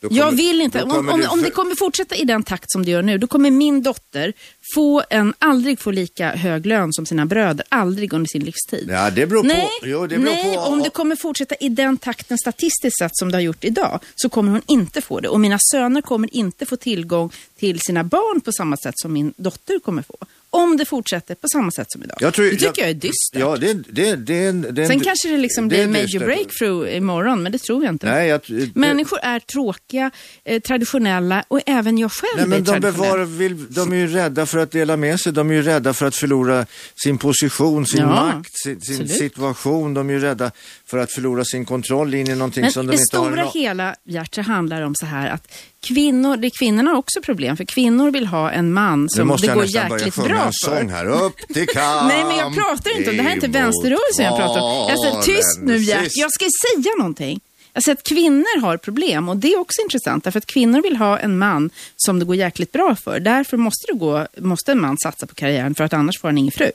B: Då
C: Jag
B: kommer-
C: vill inte.
B: då
C: Om,
B: kommer
C: om,
B: du
C: om
B: för-
C: det kommer fortsätta i den takt som det gör nu, då kommer min dotter få en, aldrig få lika hög lön som sina bröder. Aldrig under sin livstid.
B: Ja, det beror på.
C: Nej,
B: Jo, det beror
C: nej
B: på.
C: om det kommer fortsätta i den takten statistiskt sett som det har gjort idag så kommer hon inte få det. Och mina söner kommer inte få tillgång till sina barn på samma sätt som min dotter kommer få. Om det fortsätter på samma sätt som idag.
B: Jag tror-
C: det tycker jag,
B: jag-
C: är dystert.
B: Ja, det, det, det, är en- det är en-
C: Sen kanske det liksom
B: det
C: blir
B: är
C: major
B: dystert.
C: breakthrough imorgon, men det tror jag inte.
B: Nej, jag, det-
C: Människor är tråkiga, eh, traditionella och även jag själv
B: Nej, men
C: är
B: de,
C: traditionell.
B: bevar, vill, de är ju rädda för att dela med sig. De är ju rädda för att förlora sin position, sin
C: Ja,
B: makt, sin, sin
C: absolut.
B: situation. De är ju rädda för att förlora sin kontroll in i någonting
C: Men
B: som de
C: det
B: inte har.
C: stora
B: en a-
C: hela, Gert, så handlar det om så här att kvinnor, det kvinnorna har också problem, för kvinnor vill ha en man
B: Nu
C: som
B: måste
C: det
B: jag
C: går
B: nästan börja
C: jäkligt
B: sjunga
C: bra
B: en sång
C: för.
B: här. Upp till kamp!
C: Nej, men jag pratar inte om det. Det här är inte
B: emot
C: vänsterrörelsen jag pratar om. Jag säger, tyst nu,
B: valen.
C: Gert.
B: Sist.
C: Jag ska säga någonting. Jag säger att kvinnor har problem och det är också intressant därför att kvinnor vill ha en man som det går jäkligt bra för. Därför måste, det gå, måste en man satsa på karriären för att annars får han ingen fru.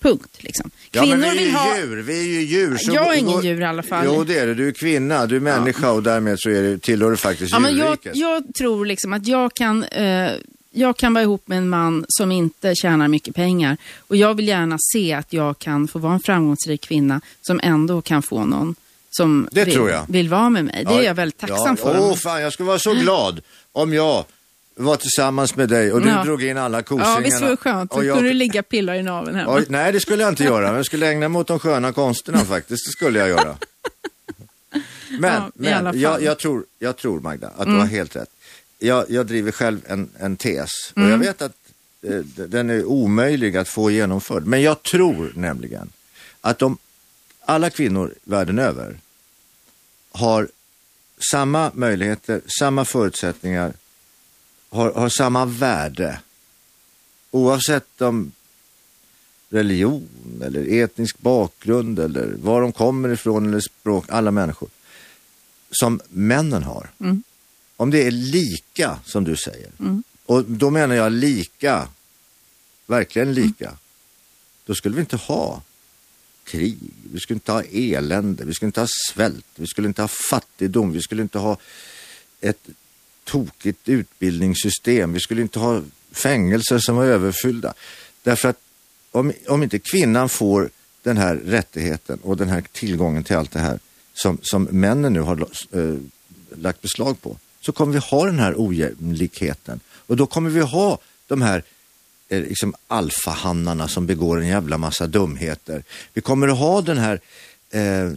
C: Punkt, liksom.
B: Ja,
C: Kvinnor
B: men vi är
C: vill
B: ju
C: ha...
B: djur, vi är ju djur. så
C: Jag är
B: gå-
C: ingen
B: gå-
C: djur i alla fall.
B: Jo, det är det. Du är kvinna, du är människa och därmed så är det, tillhör du faktiskt
C: Ja, men jag,
B: djurriket.
C: jag tror liksom att jag kan, eh, jag kan vara ihop med en man som inte tjänar mycket pengar. Och jag vill gärna se att jag kan få vara en framgångsrik kvinna som ändå kan få någon som
B: Det
C: vill,
B: tror jag.
C: vill vara med mig. Det är
B: Ja,
C: jag väldigt tacksam
B: ja.
C: för.
B: Åh fan, jag skulle vara så glad om jag var tillsammans med dig och du
C: Ja.
B: drog in alla kosingarna.
C: ja, visst var det skönt? Då
B: Och jag-
C: kunde du ligga och pilla i naveln hemma.
B: Oj, nej, det skulle jag inte göra. Men jag skulle ägna mig åt de sköna konsterna faktiskt. Det skulle jag göra. Men,
C: Ja, i alla fall. Mm.
B: men jag, jag, tror, jag tror, Magda, att du har helt rätt. Jag, jag driver själv en, en tes. Och
C: Mm.
B: jag vet att eh, d- den är omöjlig att få genomförd. Men jag tror nämligen att om alla kvinnor världen över har samma möjligheter, samma förutsättningar, har, har samma värde. Oavsett om religion eller etnisk bakgrund eller var de kommer ifrån eller språk, alla människor. Som männen har. Om det är lika som du säger. Och då menar jag lika, verkligen lika. Då skulle vi inte ha krig, vi skulle inte ha elände, vi skulle inte ha svält, vi skulle inte ha fattigdom, vi skulle inte ha ett tokigt utbildningssystem, vi skulle inte ha fängelser som var överfyllda. Därför att om, om inte kvinnan får den här rättigheten och den här tillgången till allt det här som, som männen nu har eh, lagt beslag på, så kommer vi ha den här ojämlikheten. Och då kommer vi ha de här eh, liksom alfahannarna som begår en jävla massa dumheter. Vi kommer att ha den här eh,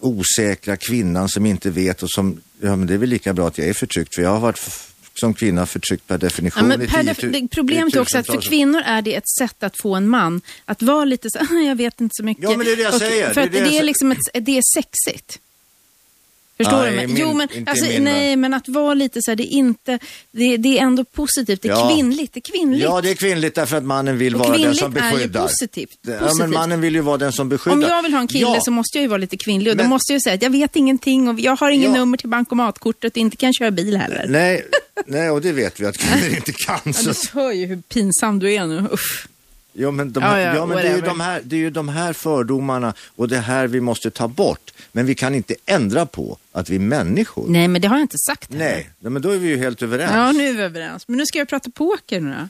B: osäkra kvinnan som inte vet och som, ja men det är väl lika bra att jag är förtryckt för jag har varit f- som kvinna förtryckt per
C: Ja,
B: definition
C: men
B: i
C: per def-
B: tiotu-
C: det, problemet
B: i
C: är också att för
B: tusentals år.
C: kvinnor är det ett sätt att få en man att vara lite så "Ah, jag vet inte så mycket.
B: Ja, men det är det jag
C: Och-
B: säger.
C: För
B: Det är
C: att
B: det
C: det,
B: jag
C: är
B: säger.
C: liksom ett, det är sexigt. Förstår
B: Nej,
C: du? mig?
B: min-
C: jo, men,
B: inte i
C: alltså,
B: min
C: nej,
B: värld.
C: men att vara lite så här, det är inte, det, det är ändå positivt, det är
B: Ja.
C: kvinnligt, det är kvinnligt.
B: Ja, det är kvinnligt därför att mannen vill
C: Och
B: vara den
C: kvinnligt
B: som
C: är ju
B: beskyddar.
C: positivt.
B: Det- Ja,
C: Positivt.
B: men mannen vill ju vara den som beskyddar.
C: Om jag vill ha en kille
B: ja.
C: så måste jag ju vara lite kvinnlig och då
B: Men-
C: måste jag ju säga att jag vet ingenting och jag har ingen
B: Ja.
C: nummer till bankomatkortet och inte kan köra bil heller.
B: Nej, nej, och det vet vi att kvinnor inte kan.
C: Ja,
B: Så.
C: du hör ju hur pinsam du är nu. Uff.
B: Ja, men, de,
C: Ja, ja,
B: ja, men det, är ju
C: whatever.
B: de här, det är ju de här fördomarna och det här vi måste ta bort. Men vi kan inte ändra på att vi är människor.
C: Nej, men det har jag inte sagt heller.
B: Nej, nej, men då är vi ju helt överens.
C: Ja, nu är vi överens. Men nu ska jag prata poker nu då.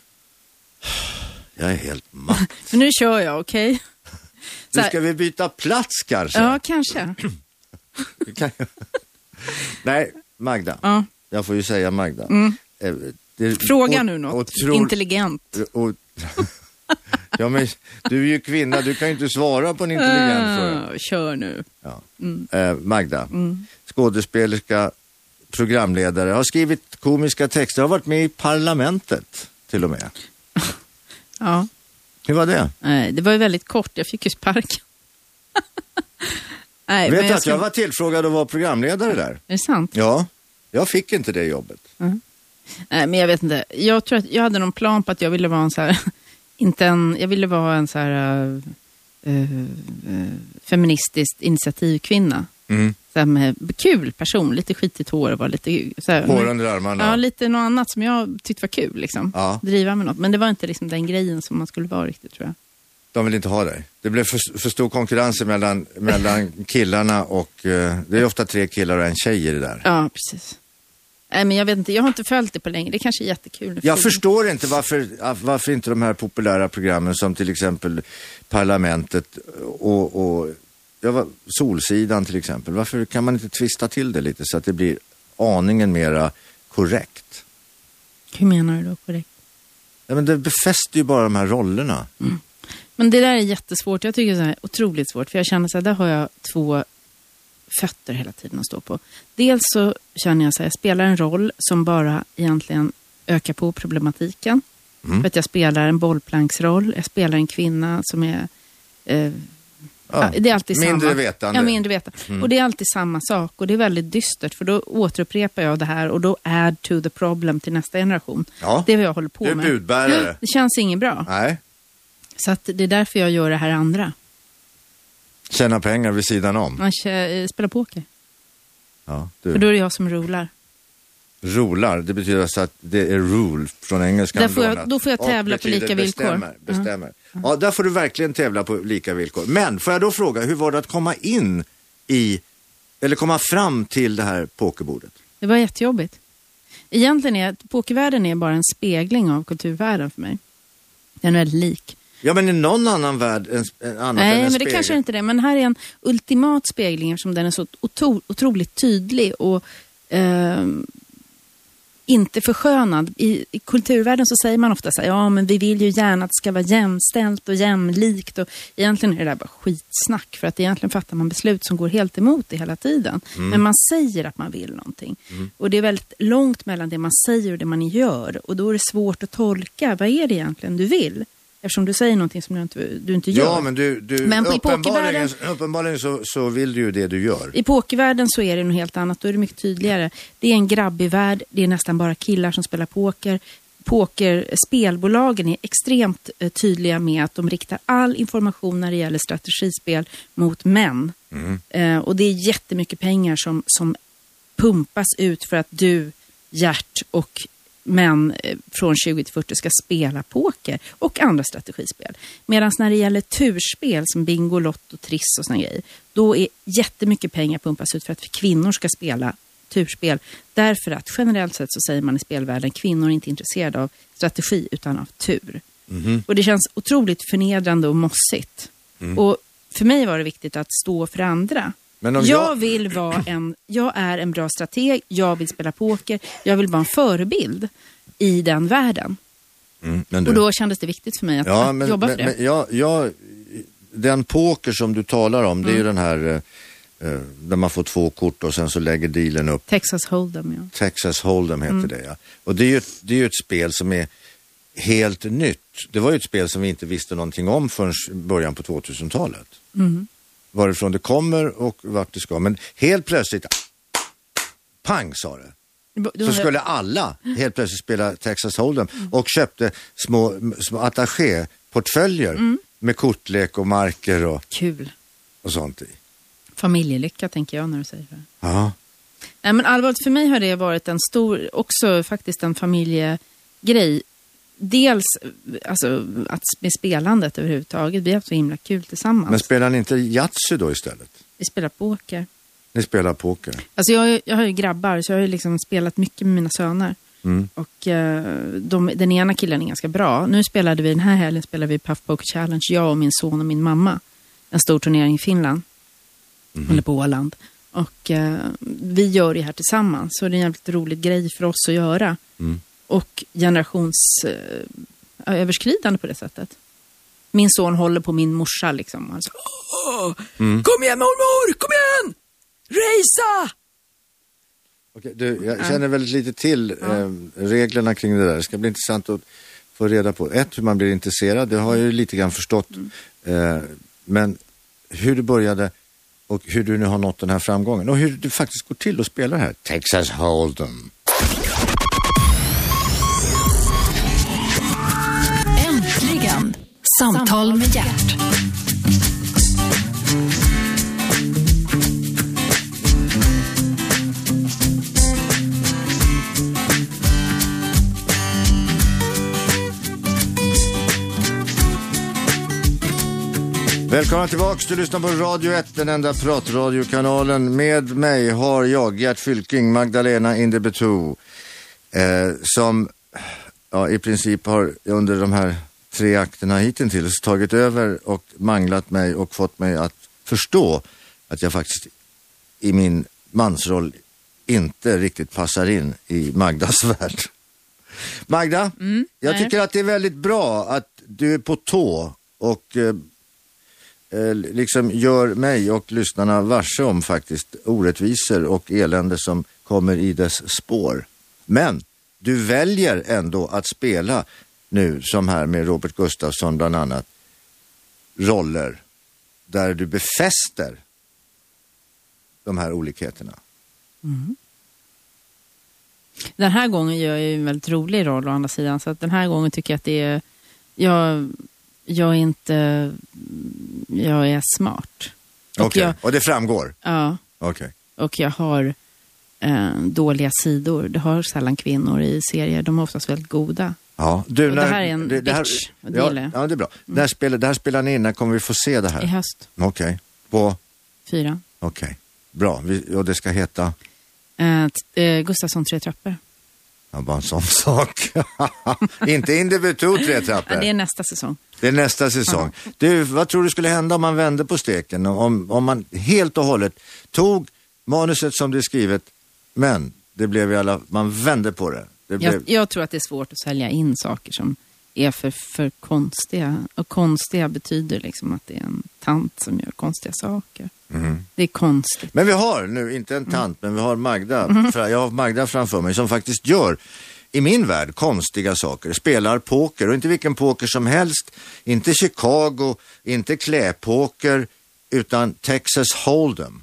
B: Jag är helt matt.
C: För nu kör jag, okej? Så
B: Nu
C: här-
B: ska vi byta plats kanske?
C: Ja, kanske.
B: Kan jag- Nej, Magda.
C: Ja. Mm.
B: Jag får ju säga Magda. Eh, det-
C: Fråga
B: och-
C: nu något
B: och tror-
C: intelligent.
B: Och, ja, men, du är ju kvinna, du kan ju inte svara på en intelligent fråga.
C: Ah, kör nu.
B: Ja.
C: Mm.
B: Eh, Magda, skådespelerska, programledare, har skrivit komiska texter, har varit med i Parlamentet till och med.
C: Ja.
B: Hur var det?
C: Nej, det var ju väldigt kort, jag fick ju sparken. Nej,
B: Vet du att
C: skulle-
B: jag var tillfrågad att vara programledare där?
C: Är det sant?
B: Ja, jag fick inte det jobbet.
C: Nej, men jag vet inte. Jag tror att jag hade någon plan på att jag ville vara en så här, inte en, jag ville vara en så här eh, eh, feministiskt initiativkvinna.
B: Mm.
C: Så här med kul person, lite skitigt hår och var lite så här,
B: Hår under
C: Ja,
B: armarna.
C: lite något annat som jag tyckte var kul liksom.
B: Ja.
C: Driva med något. Men det var inte liksom den grejen som man skulle vara riktigt tror jag.
B: De vill inte ha dig. Det blev för, för stor konkurrens mellan, mellan killarna och eh, det är ofta tre killar och en tjej i det där.
C: Ja, precis. Nej, men jag vet inte, jag har inte följt det på länge. Det kanske är jättekul nu för
B: Jag
C: tiden.
B: förstår inte varför, varför inte de här populära programmen som till exempel Parlamentet och, och jag var, Solsidan till exempel. Varför kan man inte twista till det lite så att det blir aningen mera korrekt?
C: Hur menar du då korrekt?
B: Ja, men det befäster ju bara de här rollerna.
C: Men det där är jättesvårt. Jag tycker det är otroligt svårt. För jag känner så här, där har jag två fötter hela tiden att stå på. Dels så känner jag så här, jag spelar en roll som bara egentligen ökar på problematiken.
B: Mm.
C: För att jag spelar en bollplanksroll. Jag spelar en kvinna som är... Eh,
B: Ja,
C: ja, det är alltid
B: mindre
C: samma.
B: vetande. Mm.
C: Ja, mindre vetande. Och det är alltid samma sak. Och det är väldigt dystert. För då återupprepar jag det här och då add to the problem till nästa generation.
B: Ja.
C: Det är vad jag håller på
B: Du är
C: med.
B: budbärare.
C: Det känns inget bra.
B: Nej,
C: Så att det är därför jag gör det här andra.
B: tjäna pengar vid sidan om.
C: Man kö- eh, spelar poker.
B: Ja,
C: För
B: du.
C: då är det jag som rolar.
B: Rolar, det betyder alltså att det är rule från engelskan.
C: Där får jag-
B: lånat.
C: då får jag
B: Och
C: tävla på
B: betyder
C: lika villkor. Mm.
B: Bestämmer, bestämmer. Ja, där får du verkligen tävla på lika villkor. Men får jag då fråga, hur var det att komma in i, eller komma fram till det här pokerbordet?
C: Det var jättejobbigt. Egentligen är pokervärlden är bara en spegling av kulturvärlden för mig. Den är väldigt lik.
B: Ja, men i någon annan värld än, än annat än en
C: Nej, men det
B: spegel.
C: kanske inte är det. Men här är en ultimat spegling eftersom den är så otro- otroligt tydlig och ehm, inte förskönad. I, I kulturvärlden så säger man ofta så här, ja men vi vill ju gärna att det ska vara jämställt och jämlikt. Och egentligen är det där bara skitsnack för att egentligen fattar man beslut som går helt emot det hela tiden.
B: Mm.
C: Men man säger att man vill någonting. Och det är väldigt långt mellan det man säger och det man gör. Och då är det svårt att tolka, vad är det egentligen du vill? Eftersom du säger någonting som du inte, du inte gör.
B: Ja, men du, du
C: Men på- i
B: uppenbarligen,
C: pokervärlden-
B: uppenbarligen så, så vill du ju det du gör.
C: I pokervärlden så är det något helt annat. Då är det mycket tydligare. Det är en grabbig värld. Det är nästan bara killar som spelar poker. Pokerspelbolagen är extremt eh, tydliga med att de riktar all information när det gäller strategispel mot män. Eh, och det är jättemycket pengar som, som pumpas ut för att du, Gert och män eh, från 20 till 40 ska spela poker och andra strategispel. Medan när det gäller turspel som bingo, lotto, triss och såna grejer, då är jättemycket pengar pumpas ut för att kvinnor ska spela turspel. Därför att generellt sett så säger man i spelvärlden kvinnor är inte intresserade av strategi utan av tur. Och det känns otroligt förnedrande och mossigt. Och för mig var det viktigt att stå för andra.
B: Mm. Men om
C: jag
B: jag-
C: vill vara en, jag är en bra strateg, jag vill spela poker, jag vill vara en förebild i den världen.
B: Mm, men du-
C: Och då kändes det viktigt för mig att,
B: ja,
C: att
B: men,
C: jobba
B: men,
C: för det.
B: Men, ja, ja, den poker som du talar om, det är ju
C: Mm.
B: den här eh, eh, där man får två kort och sen så lägger dealen upp.
C: Texas Hold'em, ja.
B: Texas Hold'em
C: Mm.
B: heter det ja. Och det är, ju, ett- det är ju ett spel som är helt nytt. Det var ju ett spel som vi inte visste någonting om förrän början på 2000-talet.
C: Mm.
B: Varifrån det kommer och vart det ska. Men helt plötsligt, pang sa det
C: Då
B: så
C: undrar jag-
B: skulle alla helt plötsligt spela Texas Hold'em och köpte små, små attaché-portföljer med kortlek och marker och,
C: Kul.
B: och sånt i.
C: Familjelycka tänker jag när du säger det.
B: Ja.
C: Nej, men allvarligt, för mig har det varit en stor, också faktiskt en familjegrej. Dels alltså, att, med spelandet överhuvudtaget. Vi har haft så himla kul tillsammans.
B: Men spelar ni inte Yatzy då istället?
C: Vi spelar poker.
B: Ni spelar poker.
C: Alltså jag, har ju- jag har ju grabbar, så jag har ju liksom spelat mycket med mina söner. Och eh, de, den ena killen är ganska bra. Nu spelade vi, den här helgen spelade vi Puff Poker Challenge, jag och min son och min mamma. En stor turnering i Finland. Eller på Åland. Och eh, vi gör det här tillsammans. Så det är en jävligt rolig grej för oss att göra. Och generationsöverskridande eh, överskridande på det sättet. Min son håller på min morsa liksom. Och Han så, "Åh, Kom igen mormor, kom igen! Racea!
B: Okej, du, jag känner väldigt lite till eh, reglerna kring det där. Det ska bli intressant att få reda på. Ett, hur man blir intresserad, det har jag ju lite grann förstått. Eh, men hur du började och hur du nu har nått den här framgången och hur det faktiskt går till att spela det här. Texas Hold'em.
A: Äntligen! Samtal med hjärt.
B: Välkomna tillbaks, du lyssnar på Radio 1, den enda pratradiokanalen. Med mig har jag Gert Fylking, Magdalena Indebetou, eh, som ja, i princip har under de här tre akterna hittills tagit över och manglat mig och fått mig att förstå att jag faktiskt i min mansroll inte riktigt passar in i Magdas värld. Magda, jag
C: nej.
B: tycker att det är väldigt bra att du är på tå och eh, eh, liksom gör mig och lyssnarna varse om faktiskt orättvisor och elände som kommer i dess spår. Men du väljer ändå att spela nu, som här med Robert Gustafsson bland annat, roller där du befäster de här olikheterna.
C: Den här gången gör jag ju en väldigt rolig roll å andra sidan. Så att den här gången tycker jag att det är... Jag, jag är inte... Jag är smart. Och,
B: Okej,
C: jag,
B: och det framgår?
C: ja,
B: Okej.
C: och jag har eh, dåliga sidor. Det har sällan kvinnor i serier. De är oftast väldigt goda.
B: Ja. Du,
C: Och det här är en bitch, och det
B: ja,
C: gillar jag. Mm.
B: ja, det är bra. När spelar, det här spelar ni in, när kommer vi få se det
C: I
B: här?
C: höst,
B: Okej, på?
C: fyra.
B: Okej, bra. Vi, och det ska heta?
C: Eh, t- eh, Gustafsson Tre trappor.
B: Ja, bara en sån sak. Inte Individu tre trappor.
C: Ja, det är nästa säsong.
B: Det är nästa säsong. Du, vad tror du skulle hända om man vände på steken? Om, om man helt och hållet tog manuset som det är skrivet, men det blev i alla man vände på det. det blev,
C: Jag, jag tror att det är svårt att sälja in saker som är för, för konstiga. Och konstiga betyder liksom att det är en tant som gör konstiga saker.
B: Mhm.
C: Det är konstigt.
B: Men vi har nu, inte en tant, men vi har Magda.
C: Mm.
B: Fra- Jag har Magda framför mig som faktiskt gör, i min värld, konstiga saker. Spelar poker och inte vilken poker som helst. Inte Chicago, inte kläpoker, utan Texas Hold'em.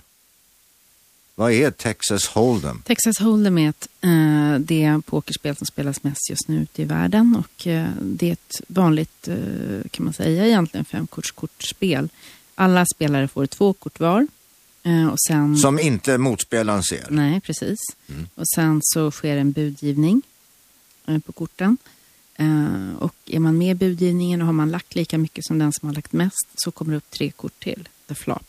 B: Vad är Texas Hold'em?
C: Texas Hold'em är ett, eh, det pokerspel som spelas mest just nu ute i världen. Och eh, det är ett vanligt, eh, kan man säga egentligen, femkortskortspel. Alla spelare får två kort var. Eh, och sen...
B: Som inte motspelaren ser.
C: Nej, precis. Och sen så sker en budgivning eh, på korten. Eh, och är man med i budgivningen och har man lagt lika mycket som den som har lagt mest så kommer det upp tre kort till, the flop.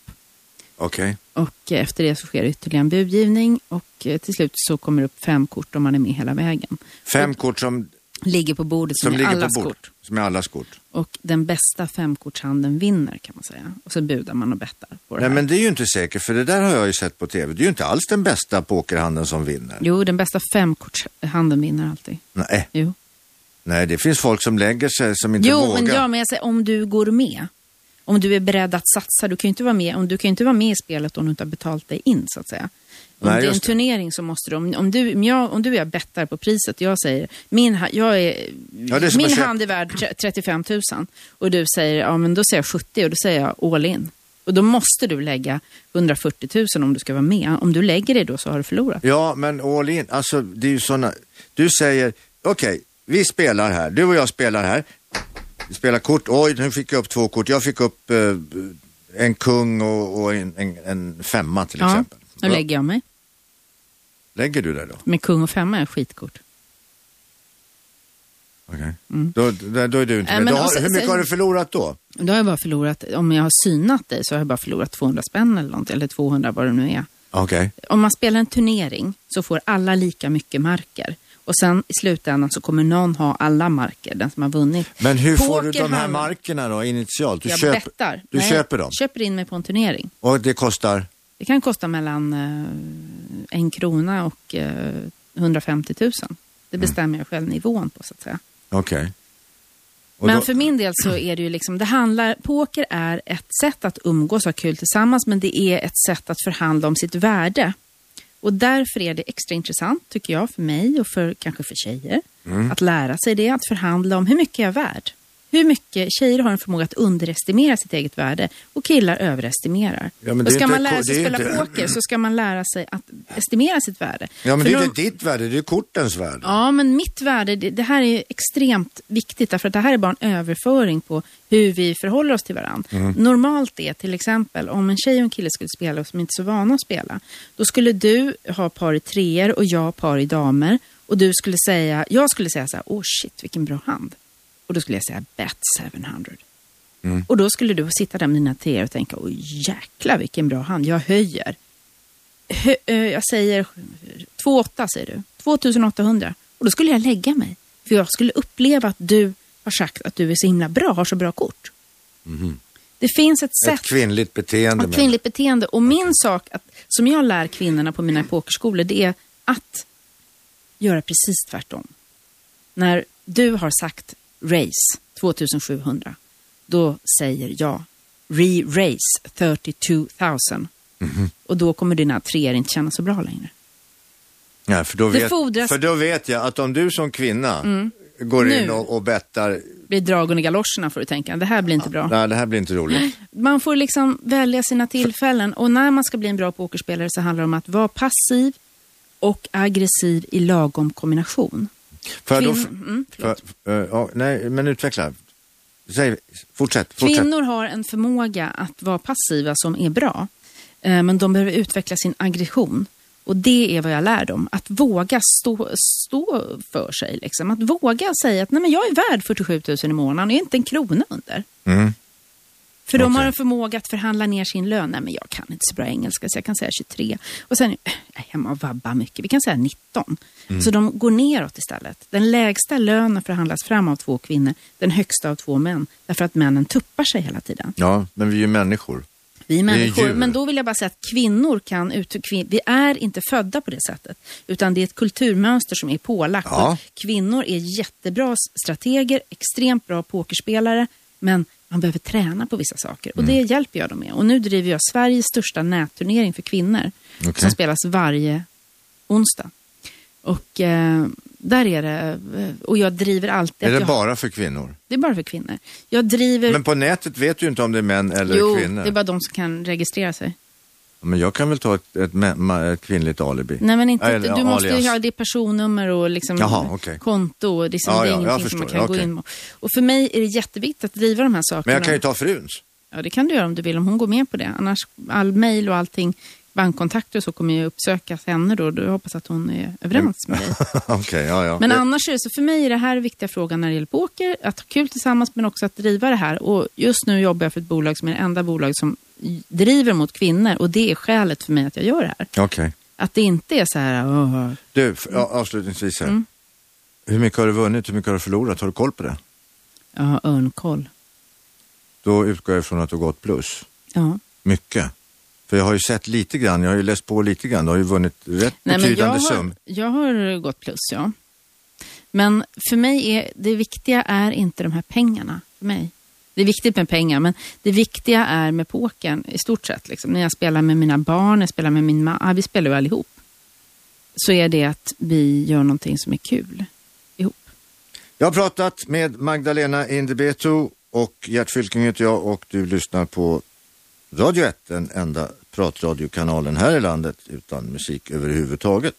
B: Okej.
C: Och eh, efter det så sker ytterligare en budgivning och eh, till slut så kommer det upp fem kort om man är med hela vägen.
B: Fem kort som,
C: Ligger på bordet som,
B: som
C: är
B: ligger på
C: allas
B: bord.
C: kort.
B: Som är allas kort.
C: Och den bästa femkortshanden vinner kan man säga. Och så budar man och bettar på det
B: Nej
C: här.
B: men det är ju inte säkert, för det där har jag ju sett på tv. Det är ju inte alls den bästa pokerhanden som vinner.
C: Jo, den bästa femkortshanden vinner alltid.
B: Nej.
C: Jo.
B: Nej, det finns folk som lägger sig som inte
C: Jo,
B: vågar.
C: men jag men jag säger om du går med. Om du är beredd att satsa. Du kan ju inte vara med, om du kan ju inte vara med i spelet om du inte har betalt dig in, så att säga. Om
B: Nej,
C: det är en
B: just det.
C: turnering så måste du, om, om du, om jag, om du och jag bettar på priset, jag säger, min, ha- jag är,
B: det är som
C: min
B: att köpa-
C: hand är värd tre- 35 000 och du säger, ja men då säger jag 70 och då säger jag all in. Och då måste du lägga 140 000 om du ska vara med. Om du lägger det då så har du förlorat.
B: Ja, men all in, alltså det är ju sådana... Du säger, okej, vi spelar här, du och jag spelar här. Vi spelar kort, oj nu fick jag upp två kort, jag fick upp eh, en kung och, och en, en, en femma till
C: Ja,
B: exempel.
C: då lägger jag mig.
B: lägger du det då?
C: Med kung och femma är skitkort.
B: Okej. Då, då, då är du inte
C: Mm. Nej,
B: med.
C: men alltså,
B: Då
C: och
B: har,
C: sen-
B: hur mycket
C: sen-
B: har du förlorat då?
C: Då har jag bara förlorat, om jag har synat dig så har jag bara förlorat 200 spänn eller någonting, eller 200 vad det nu är.
B: Okej.
C: Om man spelar en turnering så får alla lika mycket marker. Och sen i slutändan så kommer någon ha alla marker, den som har vunnit.
B: Men hur får du de här
C: Pokerhandeln-
B: markerna då initialt? Du,
C: jag
B: köper,
C: bettar.
B: du
C: Nej,
B: köper dem
C: köper in mig på en turnering.
B: och det kostar?
C: Det kan kosta mellan eh, en krona och eh, 150 000.
B: Mm.
C: Det bestämmer jag själv nivån på så att säga.
B: Okej. Och
C: Men
B: då-
C: för min del så är det ju liksom, det handlar, poker är ett sätt att umgås och ha kul tillsammans, men det är ett sätt att förhandla om sitt värde. Och därför är det extra intressant, tycker jag, för mig och för kanske för tjejer,
B: Mm.
C: att lära sig det, att förhandla om hur mycket jag är värd. Hur mycket tjejer har en förmåga att underestimera sitt eget värde och killar överestimerar.
B: Ja, men det
C: och
B: är
C: ska
B: inte-
C: man lära sig
B: det är
C: spela
B: inte-
C: poker så ska man lära sig att estimera sitt värde.
B: Ja, men
C: För
B: det är
C: de-
B: inte ditt värde, det är kortens värde.
C: Ja, men mitt värde, det, det här är ju extremt viktigt därför att det här är bara en överföring på hur vi förhåller oss till varandra. Normalt är till exempel om en tjej och en kille skulle spela och som inte är så vana att spela, då skulle du ha par i treor och jag par i damer och du skulle säga, jag skulle säga så här, åh shit vilken bra hand. Och då skulle jag säga bet 700. Och då skulle du sitta där med dina treor och tänka, åh jäklar vilken bra hand, jag höjer. Hö, eh, jag säger 28 säger du. 2800. Och då skulle jag lägga mig. För jag skulle uppleva att du har sagt att du är så himla bra, har så bra kort. Det finns ett sätt
B: Ett kvinnligt beteende.
C: och
B: men-
C: kvinnligt beteende. Och min sak att, som jag lär kvinnorna på mina pokerskolor, det är att göra precis tvärtom. När du har sagt race 2700, då säger jag re-race 32000. Och då kommer dina treor inte känna så bra längre.
B: Ja, för, då
C: Det
B: vet,
C: fordras- Mm.
B: för då vet jag att om du som kvinna går in
C: Nu.
B: och, och bettar,
C: Det blir drag under galoscherna får du tänka, det här blir inte bra.
B: nej det här blir inte roligt.
C: man får liksom välja sina tillfällen. Och när man ska bli en bra pokerspelare så handlar det om att vara passiv och aggressiv i lagom kombination.
B: Får jag då...
C: Kvinn- mm,
B: för, eh, ja, nej, men utveckla. Säg, fortsätt, fortsätt.
C: Kvinnor har en förmåga att vara passiva som är bra. Eh, Men de behöver utveckla sin aggression. Och det är vad jag lär dem. Att våga stå, stå för sig. Liksom. Att våga säga att Nej, men jag är värd 47 000 i månaden och jag är inte en krona under.
B: Mm.
C: För de har
B: Okej.
C: en förmåga att förhandla ner sin lön. Nej, men jag kan inte så bra engelska så jag kan säga 23. Och sen, "Äh, jag är hemma och vabbar mycket. Vi kan säga 19.
B: Mm.
C: Så de går neråt istället. Den lägsta lönen förhandlas fram av två kvinnor. Den högsta av två män. Därför att männen tuppar sig hela tiden.
B: Ja, men vi är ju människor.
C: Vi är
B: är
C: människor,
B: djur.
C: men då vill jag bara säga att kvinnor kan ut, kvin, vi är inte födda på det sättet, utan det är ett kulturmönster som är pålagt.
B: Ja.
C: Och Kvinnor är jättebra strateger, extremt bra pokerspelare, men man behöver träna på vissa saker och
B: Mm.
C: det hjälper jag dem med. Och nu driver jag Sveriges största nätturnering för kvinnor
B: Okej.
C: som spelas varje onsdag. Och eh, där är det, eh, och jag driver alltid...
B: Är
C: att
B: det
C: jag,
B: bara för kvinnor?
C: det är bara för kvinnor. Jag driver...
B: Men på nätet vet du ju inte om det är män eller
C: jo,
B: kvinnor.
C: det är bara de som kan registrera sig.
B: Men jag kan väl ta ett, ett, mä- ma- ett kvinnligt alibi?
C: Nej, men inte,
B: Eller
C: du måste
B: alias.
C: ju ha ditt personnummer och liksom
B: Jaha, okej.
C: konto. Och liksom,
B: Ja,
C: det är
B: ja, jag
C: ingenting
B: förstår.
C: som man kan
B: Ja,
C: gå
B: okej.
C: in på. Och för mig är det jätteviktigt att driva de här sakerna.
B: Men jag kan ju ta fruns.
C: Ja, det kan du göra om du vill, om hon går med på det. Annars, all mejl och allting, bankkontakter och så kommer jag uppsöka henne då. Du hoppas att hon är överens med dig.
B: Okej, ja, ja.
C: Men
B: Det-
C: annars är det så, för mig är det här viktiga frågan när det gäller poker, att ha kul tillsammans men också att driva det här. Och just nu jobbar jag för ett bolag som är det enda bolag som driver mot kvinnor och det är skälet för mig att jag gör det här.
B: Okej.
C: Att det inte är så här, "Åh,
B: Du, f-
C: Mm.
B: ja, avslutningsvis här. Hur mycket har du vunnit, hur mycket har du förlorat? Har du koll på det?
C: Jag har örnkoll.
B: Då utgår jag ifrån att du har gått plus.
C: Ja.
B: Mycket. För jag har ju sett lite grann, jag har ju läst på lite grann. Du har ju vunnit rätt
C: jag,
B: betydande
C: har,
B: sum.
C: jag har gått plus, ja. Men för mig är det viktiga är inte de här pengarna. För mig. Det är viktigt med pengar, men det viktiga är med pokern i stort sett. Liksom. När jag spelar med mina barn, jag spelar med min mamma, vi spelar ju allihop. Så är det att vi gör någonting som är kul ihop.
B: Jag har pratat med Magdalena Indebeto och Gert Fylking heter jag och du lyssnar på Radio 1, den enda pratradiokanalen här i landet utan musik överhuvudtaget.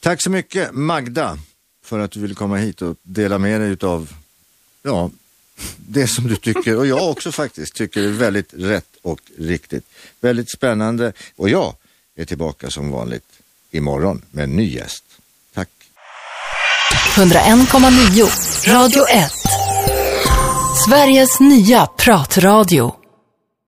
B: Tack så mycket Magda för att du ville komma hit och dela med dig utav ja, det som du tycker och jag också faktiskt tycker är väldigt rätt och riktigt. Väldigt spännande och jag är tillbaka som vanligt imorgon med en ny gäst. Tack!
A: 101,9 Radio 1. Sveriges nya pratradio.